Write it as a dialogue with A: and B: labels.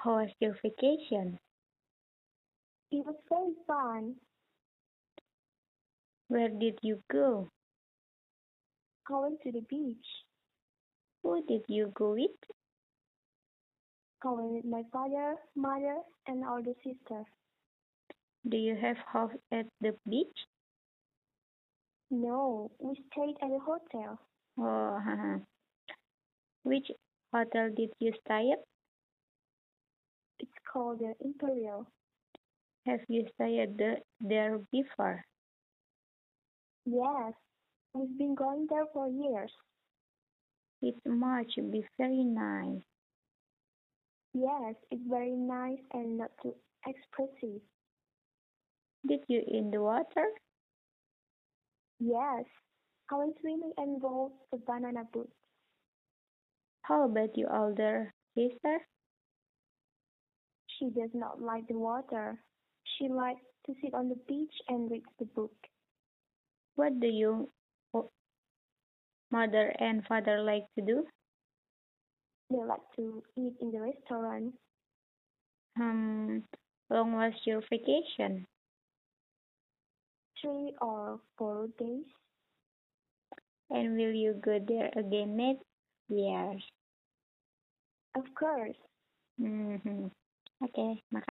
A: horse justification.
B: It was so fun.
A: Where did you go?
B: I went to the beach.
A: Who did you go with?
B: I went with my father, mother, and older sister.
A: Do you have house at the beach?
B: No, we stayed at a hotel.
A: Oh, haha. Which hotel did you stay at?
B: It's called the Imperial.
A: Have you stayed at the, there before?
B: Yes, we've been going there for years.
A: It must be very nice.
B: Yes, it's very nice and not too expressive.
A: Did you in the water?
B: Yes, I went swimming and rode a banana boat.
A: How about your older sister?
B: She does not like the water. She likes to sit on the beach and read the book.
A: What do your o- mother and father like to do?
B: They like to eat in the restaurant.
A: Um, long was your vacation?
B: Three or four days.
A: And will you go there again next year?
B: Of course.
A: hmm Mm-hmm. Okay, makasih.